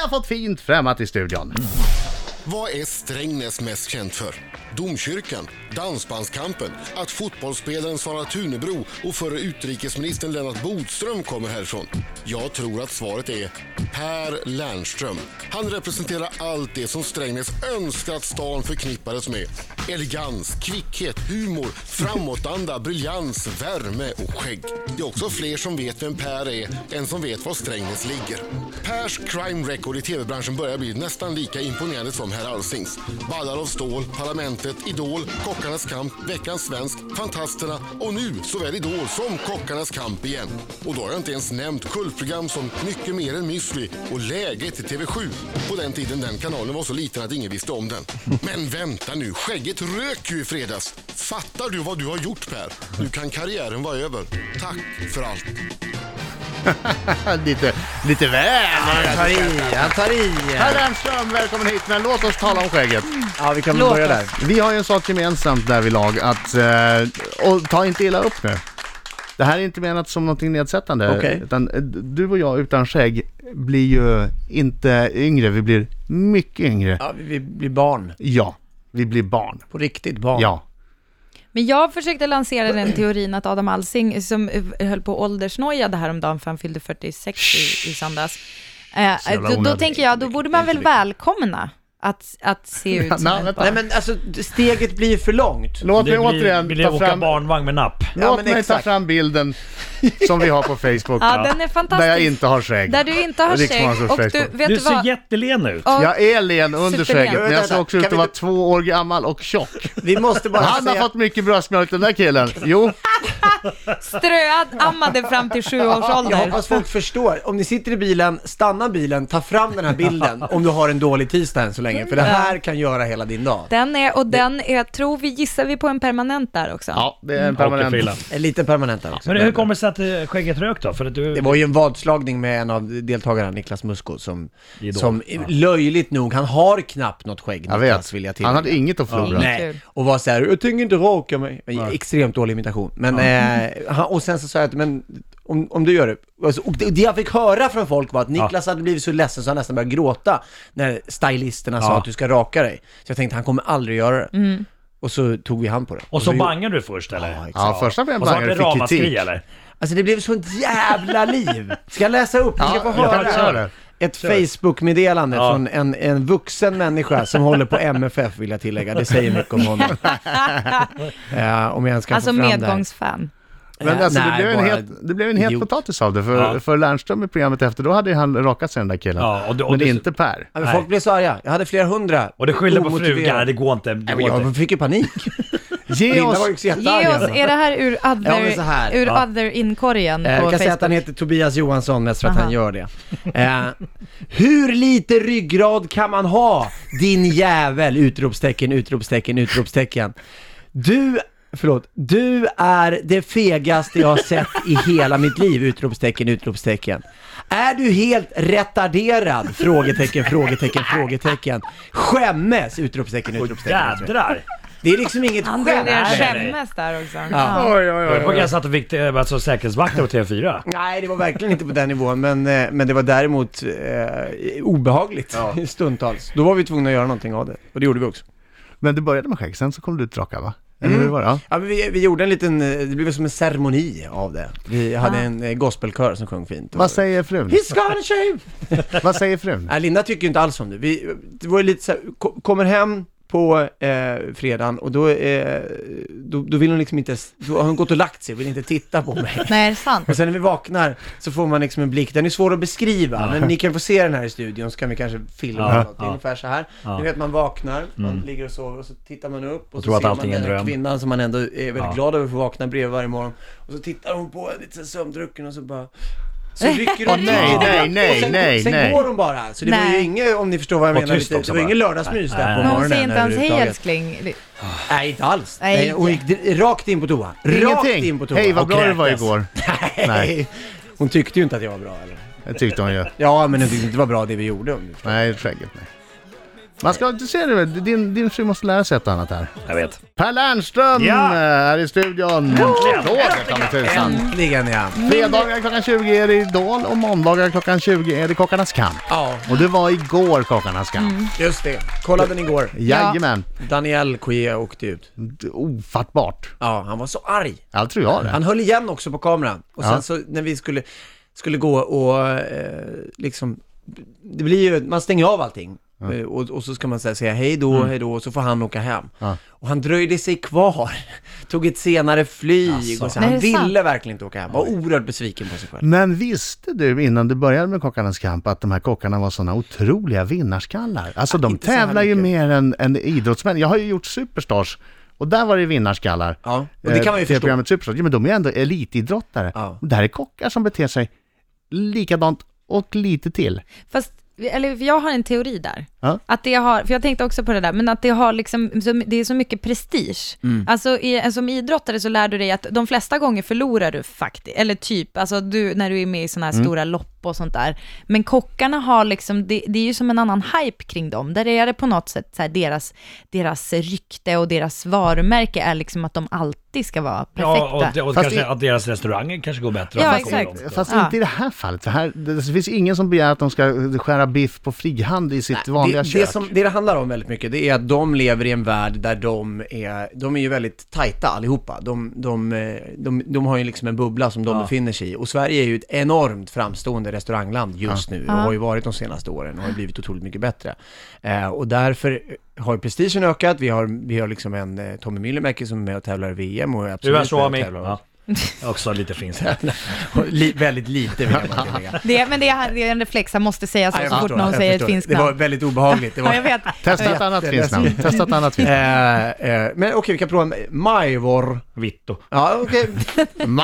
har fått fint främmat i studion. Vad är Strängnäs mest känt för? Domkyrkan, dansbandskampen, att fotbollsspelaren Sara Tunebro och förre utrikesministern Lennart Bodström kommer härifrån? Jag tror att svaret är Per Lernström. Han representerar allt det som Strängnäs önskar att stan förknippades med. Elegans, kvickhet, humor, framåtanda, briljans, värme och skägg. Det är också fler som vet vem Per är än som vet var Strängnäs ligger. Pers crime record i tv-branschen börjar bli nästan lika imponerande som herr Alsings. Ballar av stål, Parlamentet, Idol, Kockarnas kamp, Veckans svensk, Fantasterna och nu såväl Idol som Kockarnas kamp igen. Och då har jag inte ens nämnt kultprogram som Mycket mer än Müsli och Läget i TV7. På den tiden den kanalen var så liten att ingen visste om den. Men vänta nu, skägget rök ju i fredags. Fattar du vad du har gjort Per? Nu kan karriären vara över. Tack för allt. lite, lite väl. Han tar i, han tar i. Per Lernström, välkommen hit, men låt oss tala om skägget. Ja, vi kan väl Låt börja där. oss. Vi har ju en sak gemensamt där vi lag att, eh, och ta inte illa upp nu. Det här är inte menat som någonting nedsättande. Okej. Utan eh, du och jag utan skägg blir ju inte yngre, vi blir mycket yngre. Ja, vi, vi blir barn. Ja, vi blir barn. På riktigt barn. Ja. Men jag försökte lansera den teorin att Adam Alsing, som höll på åldersnojade häromdagen för han fyllde 46 i, i söndags. Eh, jävla då, då onödigt. tänker jag, då borde man väl välkomna att, att se ut som Nej, ett vänta. barn. Nej men alltså, steget blir ju för långt. Låt mig Det återigen blir, blir ta åka fram, barnvagn med napp. Ja, låt men mig ta exakt. fram bilden som vi har på Facebook. Ja, den är fantastisk. Där jag inte har skägg. Där du inte har liksom skägg. Riksmorgons Och du, Facebook. vet du, Du ser vad? jättelen ut. Ja, Jag är len under Superlen. skägget, men jag såg också Kan ut vi att vara inte- två år gammal och tjock. Vi måste bara Han har säga... fått mycket bröstmjölk den där killen. Jo, Ströad, ammade fram till sju års Jag ålder. hoppas folk förstår. Om ni sitter i bilen, stanna bilen, ta fram den här bilden om du har en dålig tisdag än så länge. För det här kan göra hela din dag. Den är, och den är, tror vi, gissar vi på en permanent där också? ja, det är en permanent. Åkerfrilla. En liten permanent där också. Men hur kommer det sig att eh, skägget rök då? För att du... Det var ju en vadslagning med en av deltagarna, Niklas Musko, som, Idol. som Ja. löjligt nog, han har knappt något skägg, Jag Niklas, vet. vill jag Han hade tillägga. inget att förlora. Inget. Nej, Kul. och var såhär, jag tänker inte raka mig. Men, extremt dålig imitation. Men, eh, han, och sen så sa jag att, men om, om du gör det. Alltså, Och det, det jag fick höra från folk var att Niklas hade blivit så ledsen så han nästan började gråta när stylisterna sa Ja. att du ska raka dig. Så jag tänkte, han kommer aldrig göra det. Och så tog vi hand på det. Och så vi- bangade du först eller? Ja, exakt. Ja, första Och så var bangaren det fick ramaskri kritik. eller? Alltså det blev sånt jävla liv! Ska jag läsa upp? Ni ska Ja, få ja, höra. kör det. Ett Facebook-meddelande Ja. från en, en vuxen människa som håller på MFF vill jag tillägga. Det säger mycket om honom. Eh, om jag ens kan Alltså få fram det här. medgångsfan. Men Eh, alltså, det, nej, blev en bara- het, det blev en het idiot. potatis av det, för, Ja. för Lernström i programmet efter, då hade ju han rakat sig den där killen. Ja, och du- och men du- inte Per. Ja, men folk Nej. blev så arga. Jag hade flera hundra. Och det skyller på omotiverade. frugan, det går inte. Nej, Det men går inte. jag fick ju panik. Ge Linda oss... var ju så Ge jättearg. oss, är det här ur Ja, men other, så här. ur Ja. other in-korgen Eh, på Jag kan säga att Facebook? han heter Tobias Johansson mest för att Aha. han gör det. Eh, hur lite ryggrad kan man ha? Din jävel! Utropstecken, utropstecken, utropstecken. Du, förlåt, du är det fegaste jag har sett i hela mitt liv! Utropstecken, utropstecken. Är du helt retarderad? Frågetecken, frågetecken, frågetecken. Skämmes! Utropstecken, utropstecken. Jädrar! Det är liksom inget Han drog skämt. ner Nej, nej. skämmes där också. Ja. Oj, oj, Jag oj. var på gränsen att du fick eh, alltså, säkerhetsvakter på TV4. Nej, det var verkligen inte på den nivån, men, eh, men det var däremot eh, obehagligt stundtals. Då var vi tvungna att göra någonting av det, och det gjorde vi också. Men du började med skägg, sen så kom du ut raka va? Mm. Eller hur var det? Ja. Ja, men vi, vi gjorde en liten, eh, det blev som en ceremoni av det. Vi hade en eh, gospelkör som sjöng fint. Vad säger frun? He's gonna shave! Vad säger frun? Nej, Linda tycker ju inte alls om det. Vi, det var ju lite så här, ko- kommer hem på eh, fredagen och då, eh, då, då vill hon liksom inte, s- då har hon gått och lagt sig och vill inte titta på mig. Nej, är det sant? Och sen när vi vaknar så får man liksom en blick, den är svår att beskriva, men ni kan få se den här i studion så kan vi kanske filma Ja, eller något. Det är ja. ungefär så här. Ja. Mm. Ni vet man vaknar, man ligger och sover och så tittar man upp och, så tror att ser man allting är den en här dröm. kvinnan som man ändå är väldigt Ja. glad över att få vakna bredvid varje morgon. Och så tittar hon på en lite så här sömndrucken och så bara så rycker hon Eh, Åh, nej, till. nej, nej, Och sen, nej, sen nej. går hon bara. Så det var ju Nej. inget, om ni förstår vad jag Var menar, tyst lite, det också var bara. ingen lördagsmys där Nej. på Men hon morgonen säger inte ens hej överhuvudtaget. älskling. Nej, inte alls. Nej. Nej. Hon gick di- rakt in på toa. Rakt in på toa. Hej, vad Och bra du var kräktes. igår. Nej. Nej. Hon tyckte ju inte att jag var bra eller? Det tyckte hon ju. Ja, men hon tyckte inte det var bra det vi gjorde om du förstår. Nej, skägget nej. Man ska inte se det, din, din fru måste lära sig ett annat här. Jag vet. Per Lernström Ja. eh, är i studion. Äntligen! Roger, ta mig tusan. Äntligen ja. Fredagar klockan 20 är det Idol och måndagar klockan 20 är det Kockarnas kamp. Ja, Och det var igår Kockarnas kamp. just det. Kollade den igår. Jajamän. Daniel Kuea åkte ut. D- Ofattbart. Ja, han var så arg. Ja, det tror jag det. Han höll igen också på kameran. Och Ja. sen så när vi skulle, skulle gå och eh, liksom, det blir ju, man stänger av allting. Eh, Och, och så ska man så här säga hej då, hej då, och så får han åka hem. Mm. Ja. Och han dröjde sig kvar, tog ett senare flyg och så, Nej, han är det sant? ville verkligen inte åka hem. Var oerhört besviken på sig själv. Men visste du innan du började med Kockarnas kamp att de här kockarna var sådana otroliga vinnarskallar? Alltså de inte så här tävlar ju mycket. mer än, än idrottsmän. Jag har ju gjort Superstars och där var det vinnarskallar. Ja, och det Eh, kan man ju förstå. programmet Superstars. Ja, men de är ju ändå elitidrottare. Ja. Och det här är kockar som beter sig likadant och lite till. Fast, eller jag har en teori där. Ja. Att det har, för jag tänkte också på det där, men att det har liksom, så- det är så mycket prestige. Mm. Alltså i, som idrottare så lär du dig att de flesta gånger förlorar du faktiskt, eller typ, alltså du, när du är med i sådana här Mm. stora lopp och sånt där. Men kockarna har liksom, det, det är ju som en annan hype kring dem. Där är det på något sätt så här, deras, deras rykte och deras varumärke är liksom att de alltid ska vara perfekta. Ja, och, och Fast kanske det- att deras restauranger kanske går bättre. Ja, om man kommer exakt. långt. Fast Ja. inte i det här fallet. För här, det, det finns ingen som begär att de ska skära biff på frihand i sitt vanliga det, kök. det, som, det det handlar om väldigt mycket, det är att de lever i en värld där de är, de är ju väldigt tajta allihopa. De, de, eh, de, de har ju liksom en bubbla som de befinner sig i. Och Sverige är ju ett enormt framstående restaurangland just nu och har ju varit de senaste åren och har ju blivit otroligt mycket bättre. Eh, och därför har ju prestigen ökat. Vi har, vi har liksom en eh, Tommy Myllymäki som är med och tävlar i VM och är Du absolut är så med och min. tävlar. Ja. Också lite finns Och Li, väldigt lite vill jag bara tillägga. det, men det är, det är en reflex, han måste säga så, Ja, jag så fort förstår det, någon jag säger ett förstår det. finskt Det var namn. väldigt obehagligt. Det var, Ja, jag vet. Testa ett annat finskt namn. Testa ett annat finskt namn. Eh, eh, men okej, vi kan prova en- Majvor. Vitto. Ja, okej.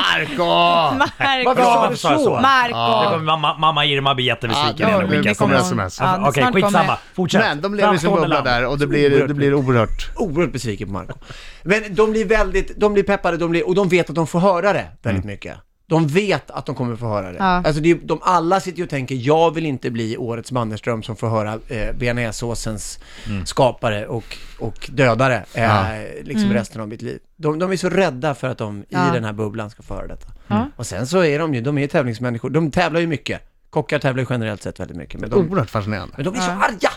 Marco! Varför Bra, sa Marco. du varför sa jag så? så? Marco. Nu kommer mamma, mamma Irma bli jättebesviken. Ja, igen och nu skicka kommer sms. sms. Ja, Alltså, Okej, snart skitsamma. kommer- Fortsätt. Men de lever i sin Framstående bubbla land. där och det blir, det blir oerhört. Oerhört besviken på Marco. Men de blir väldigt, de blir peppade de blir, och de vet att de får höra det väldigt mycket. De vet att de kommer få höra det. Ja. Alltså det, är ju- de alla sitter ju och tänker, jag vill inte bli årets Mannerström som får höra eh, bearnaisesåsens skapare och, och dödare eh, Ja. liksom resten av mitt liv. De, de är så rädda för att de Mm. Ja. i den här bubblan ska få höra detta. Ja. Och sen så är de ju, de är ju tävlingsmänniskor. De tävlar ju mycket. Kockar tävlar ju generellt sett väldigt mycket. Men Mm. de, Oerhört fascinerande. men de är så arga!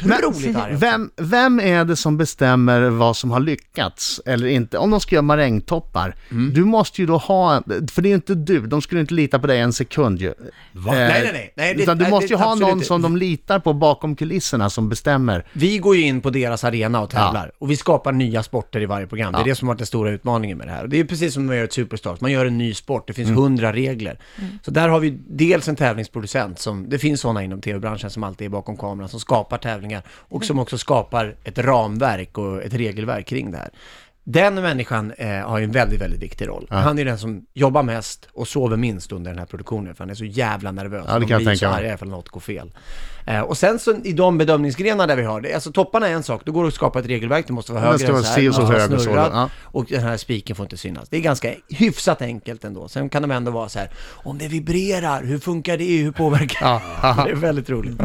De är så otroligt arga. Vem, vem är det som bestämmer vad som har lyckats eller inte? Om de ska göra marängtoppar, du måste ju då ha, för det är ju inte du, de skulle inte lita på dig en sekund ju. Eh, Nej, nej, nej. Nej, det- Utan du nej, måste ju det- ha absolut någon inte. som de litar på bakom kulisserna som bestämmer. Vi går ju in på deras arena och tävlar. Och vi skapar nya sporter i varje program. Det är det som har varit den stora utmaningen med det här. Och det är precis som när man gör ett Superstars. Man gör en ny sport. Det finns Mm. hundra regler. Så där har vi dels en tävlingsproducent som, det finns sådana inom tv-branschen som alltid är bakom kameran, som skapar tävlingar och som också skapar ett ramverk och ett regelverk kring det här. Den människan eh, har ju en väldigt, väldigt viktig roll. Han är den som jobbar mest och sover minst under den här produktionen, för han är så jävla nervös. Ja, det De kan jag blir ju tänka så mig. arga ifall något går fel. Eh, och sen så i de bedömningsgrenar där vi har det, alltså topparna är en sak, då går det att skapa ett regelverk, det måste vara Ja, det högre ska än vara så här, si och så måste vara hög och så, snurrad, ja. och den här spiken får inte synas. Det är ganska hyfsat enkelt ändå. Sen kan de ändå vara så här, om det vibrerar, hur funkar det, hur påverkar det? Det är väldigt roligt.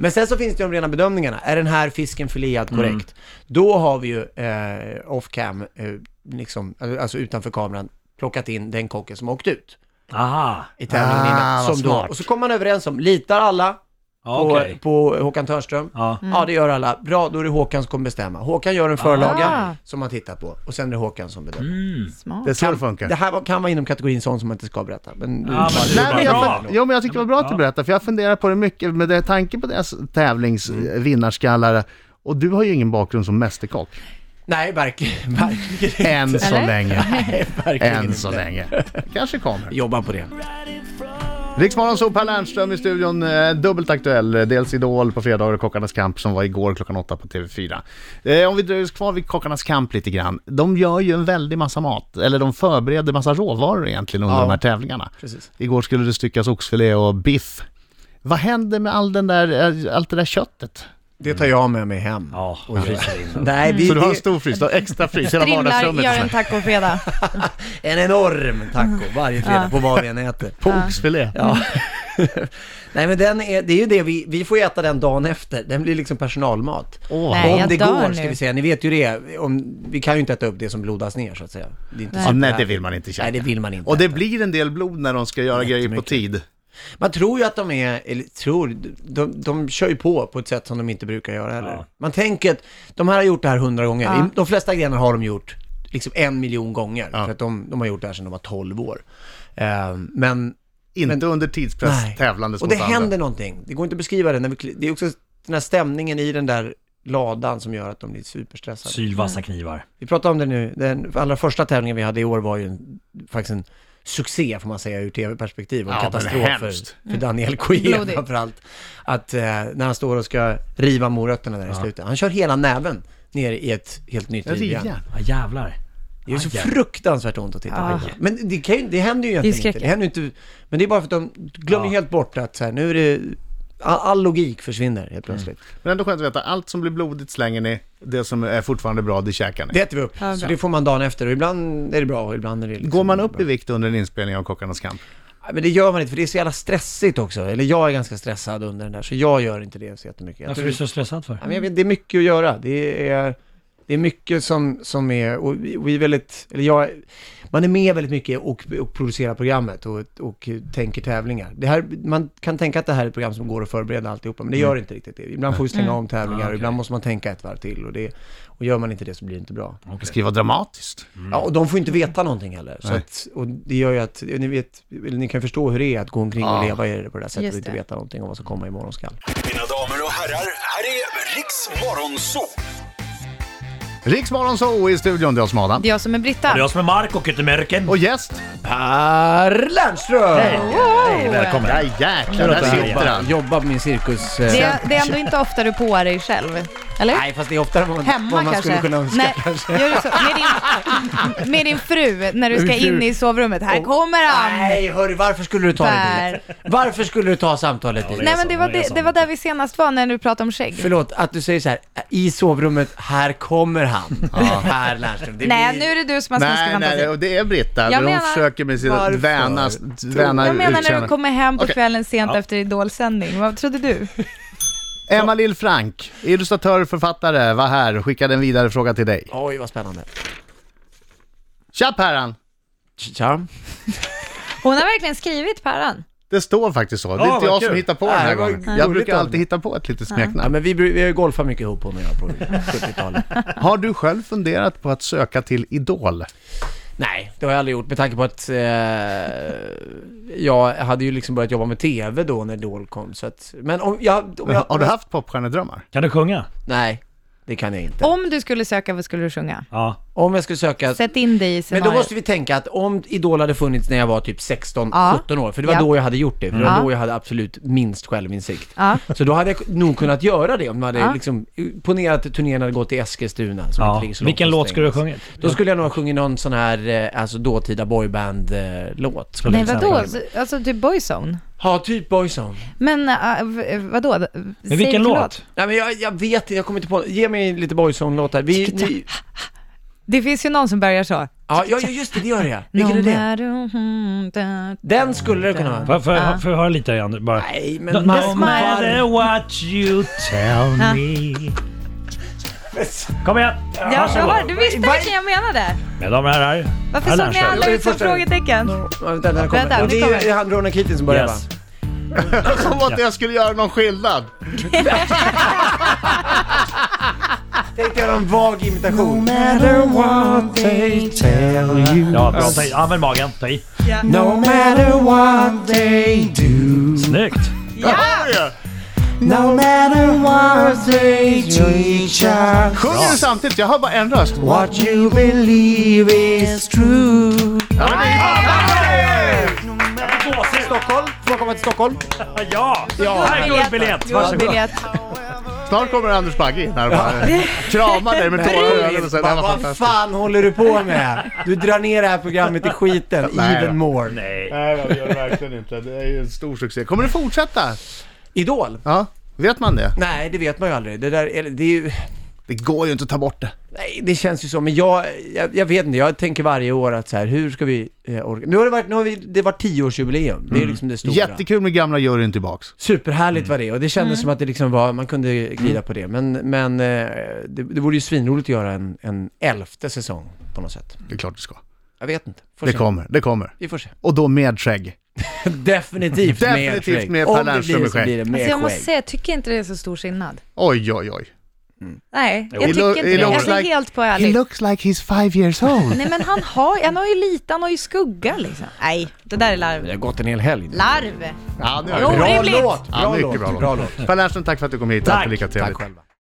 Men sen så finns det de rena bedömningarna. Är den här fisken filead Mm. korrekt? Då har vi ju eh, off cam, eh, liksom, alltså utanför kameran, plockat in den kocken som har åkt ut Aha, i tävlingen Ah, innan. vad Som då, smart. och så kommer man överens om, litar alla ja, på, okej. på Håkan Törnström? Ja. Ja, det gör alla. Bra, då är det Håkan som kommer bestämma. Håkan gör en förlaga Ah. som man tittar på och sen är det Håkan som bedömer. Smart. Det är så det Mm. Det funkar. här var- kan vara inom kategorin sån som man inte ska berätta. Men, Ja, men det är Nej, bara men bra. jag, jo, men jag tycker det var bra att du Ja. berättar, för jag funderar på det mycket med det, tanke på deras tävlingsvinnarskallar. Och du har ju ingen bakgrund som mästerkock. Nej, verkligen, verkligen. Än så Eller? länge. Nej, verkligen Än inte. så länge. Kanske kommer. Jobba på det. Riksmorgon så Per Lernström i studion, eh, dubbelt aktuell. Dels Idol på fredagar och Kockarnas kamp som var igår klockan åtta på TV4. Eh, om vi dröjer oss kvar vid Kockarnas kamp lite grann. De gör ju en väldig massa mat, eller de förbereder massa råvaror egentligen under Ja. de här tävlingarna. Precis. Igår skulle det styckas oxfilé och biff. Vad händer med all den där, eh, allt det där köttet? Det tar jag med mig hem. Ja, och fryser in. Nej, vi, Så du har en vi- stor frys, du har extra frys, hela Strimlar, vardagsrummet. gör en tacofredag. en enorm taco varje fredag på vad vi än äter. På oxfilé. Ja. Nej men den är, det är ju det vi, vi får äta den dagen efter. Den blir liksom personalmat. Åh. Nej, om jag det dör går nu. ska vi säga, ni vet ju det. Om, vi kan ju inte äta upp det som blodas ner så att säga. Det är inte Nej. så- Ja, nej, det vill man inte Nej det käka. vill man inte. Och det blir en del blod när de ska göra grejer på Jättemycket. tid. Man tror ju att de är, eller tror, de, de kör ju på på ett sätt som de inte brukar göra heller. Ja. Man tänker att de här har gjort det här hundra gånger. Ja. I- De flesta grenar har de gjort liksom en miljon gånger. Ja. För att de, de har gjort det här sedan de var tolv år. Eh, men Inte under tidspress Nej. tävlandes Och mot det andra. händer någonting. Det går inte att beskriva det. När vi, kli- det är också den här stämningen i den där ladan som gör att de blir superstressade. Sylvassa knivar. Vi pratade om det nu. Den allra första tävlingen vi hade i år var ju en, faktiskt en succé, får man säga, ur tv-perspektiv. Och en Ja, men katastrof hemskt. för, för Daniel Coué Blodigt. framförallt. Att eh, när han står och ska riva morötterna där i slutet. Han kör hela näven ner i ett helt nytt rivjärn. Rivjärn. Ja, jävlar. Det är ju så Aj, jävlar. fruktansvärt ont att titta Ja. på. Men det, kan ju, det händer ju egentligen inte. skräckligt. Det händer ju inte. Men det är bara för att de glömmer Ja. helt bort att så här, nu är det... All, all logik försvinner helt plötsligt. Men ändå skönt att veta, allt som blir blodigt slänger ni, det som är fortfarande bra, det käkar ni. Det äter vi upp. Ja, bra. så det får man dagen efter. Och ibland är det bra och ibland är det liksom Går man upp bra. i vikt under en inspelning av Kockarnas kamp? Nej, Men det gör man inte för det är så jävla stressigt också. Eller jag är ganska stressad under den där. Så jag gör inte det så jättemycket. Jag Varför tror är du det, så stressad för? Ja, men jag vet, det är mycket att göra. Det är, det är mycket som, som är... Och vi, och vi är väldigt... Eller jag... Man är med väldigt mycket och, och producerar programmet och, och tänker tävlingar. Det här, man kan tänka att det här är ett program som går att förbereda alltihopa, men det gör inte riktigt det. Ibland får vi slänga om tävlingar och Ah, Mm. okej. ibland måste man tänka ett varv till. Och, det, och gör man inte det så blir det inte bra. Det ska ju vara dramatiskt. Ja, och de får inte veta någonting heller. Så Nej. att, och det gör ju att, ni vet, eller ni kan förstå hur det är att gå omkring och leva i det på det där sättet Just och inte det. veta någonting om vad som kommer imorgon skall. Mina damer och herrar, här är Riks Morgonzoo! Riks Morgonzoo i studion, det är jag som är Adam. Det är jag som är Britta. Det är jag som är Marco Kyttemörken. Och gäst? Per Lernström! Hej, välkommen. Ja jäklar, där sitter Jobba, han. jobba på min cirkus... eh, Det, är- det är ändå inte ofta du påar dig själv, eller? Nej, fast det är oftare än vad man, Hemma vad man kanske? skulle kunna önska Nej, kanske. Gör du så? Med, din, med din fru, när du ska Min fru. in i sovrummet. Här kommer han! Nej, Nej, hörru, varför skulle du ta det dit? Varför skulle du ta samtalet dit? Nej, men det var, Det är det, sant. det var där vi senast var när du pratade om skägg. Förlåt, att du säger så här, i sovrummet, här kommer han. Ja. Per Lernström. det Nej, blir- nu är det du som har snuskig Nej, nej, fantasi. och det är Britta. Jag hon menar- försöker med sina Varför? väna, väna Jag menar när du utkänna. kommer hem på Okej. kvällen sent efter idolsändning. Vad trodde du? Emma Lill Frank, illustratör och författare, var här. Skickade en vidare fråga till dig. Oj, vad spännande. Tja Päran! Tja. Hon har verkligen skrivit Päran. Det står faktiskt så. Det Ja, är inte vad jag som kul. hittar på Ja, den här det var gången. roligt Jag brukar av alltid dig. hitta på ett litet smeknamn. Ja, men vi, bru- vi har ju golfat mycket ihop hon och jag på 70-talet. Har du själv funderat på att söka till Idol? Nej, det har jag aldrig gjort med tanke på att eh, jag hade ju liksom börjat jobba med TV då när Idol kom. Så att, men om jag... Om jag Har du haft popstjärnedrömmar? Kan du sjunga? Nej, det kan jag inte. Om du skulle söka, vad skulle du sjunga? Ja. Om jag skulle söka... Sätt in dig i Men scenariot. då måste vi tänka att om Idol hade funnits när jag var typ 16, Ja. 17 år, för det var Ja. då jag hade gjort det, för det var Ja. då jag hade absolut minst självinsikt. Ja. Så då hade jag nog kunnat göra det om man hade Ja. liksom, ponera att turnén hade gått till Eskilstuna som inte ja. ligger så långt Vilken från låt skulle du ha Strängnäs. sjungit? Då skulle jag nog ha sjungit någon sån här, eh, alltså dåtida eh, boyband-låt. Nej, vadå? Alltså typ Boyzone? Ja, typ Boyzone. Men äh, v- vadå? Säg Men för vilken låt? Nej men jag, jag vet inte, jag kommer inte på Ge mig lite Boyzone-låtar. Vi, ni, Det finns ju någon som börjar så. ja, ja, just det, det gör jag. Vilken är det? det? Den skulle det kunna vara. Får får- får jag höra lite igen? Bara. Nej, men No, Mauro no matter what you tell me Kom igen! Ja, så Varsågod. har, du visste Vad- vilken jag menade. Mina damer och herrar. Varför här såg ni Lernström. alla Det är ut som första- frågetecken? Ja, Vänta, den kommer. Vänta, och det det är kommer. han Ronan Keating som börjar Yes. va? Som att jag skulle göra någon skillnad! Tänkte göra en vag imitation. No matter what they tell you Ja, bra. Ta i. Använd magen. Ta i. No matter what they do Snyggt! No matter what they teach us Sjunger du samtidigt? Jag hör bara en röst. What you believe is true Ja, men det är- Stockholm, får komma till Stockholm? Ja! ja. Här går en biljett. Varsågod. Guldbiljett. Snart kommer Anders Bagge in här och bara kramar dig med tårar i ögonen och säger det här var Vad fantastiskt. fan håller du på med? Du drar ner det här programmet i skiten, Nej, even då. more. Nej. Nej, det gör verkligen inte. Det är ju en stor succé. Kommer du fortsätta? Idol? Ja. Vet man det? Nej, det vet man ju aldrig. Det där, eller, det är ju... Det går ju inte att ta bort det. Nej, det känns ju så, men jag, jag, jag vet inte, jag tänker varje år att så här, hur ska vi eh, orka? Nu har det varit, nu har vi, det var tioårsjubileum, det är Mm. liksom det stora. Jättekul med gamla juryn tillbaks. Superhärligt Mm. var det, och det kändes Mm. som att det liksom var, man kunde glida på det. Men, men eh, det, det vore ju svinroligt att göra en, en elfte säsong på något sätt. Det är klart du ska. Jag vet inte, får Det se. kommer, det kommer. Vi får se. Och då med skägg. Definitivt Definitivt, mer skägg. mer Per Om det Lernström blir med det så blir det mer Alltså jag måste skägg. säga, jag tycker inte det är så stor skillnad. Oj, oj, oj. Nej, jag He tycker lo- inte he det. looks Alltså like- helt på He ärligt. looks like he's five years old. Nej men han har, han har ju lite, han har ju skugga liksom. Nej, det där är Det larv. har gått en hel helg. Larv! ja, nu Jo, är det. Orimligt! låt! Bra Ja, mycket låt! bra låt. Bra låt. Per Lernström, tack för att du kom hit. Alltid lika trevligt. Tack själva.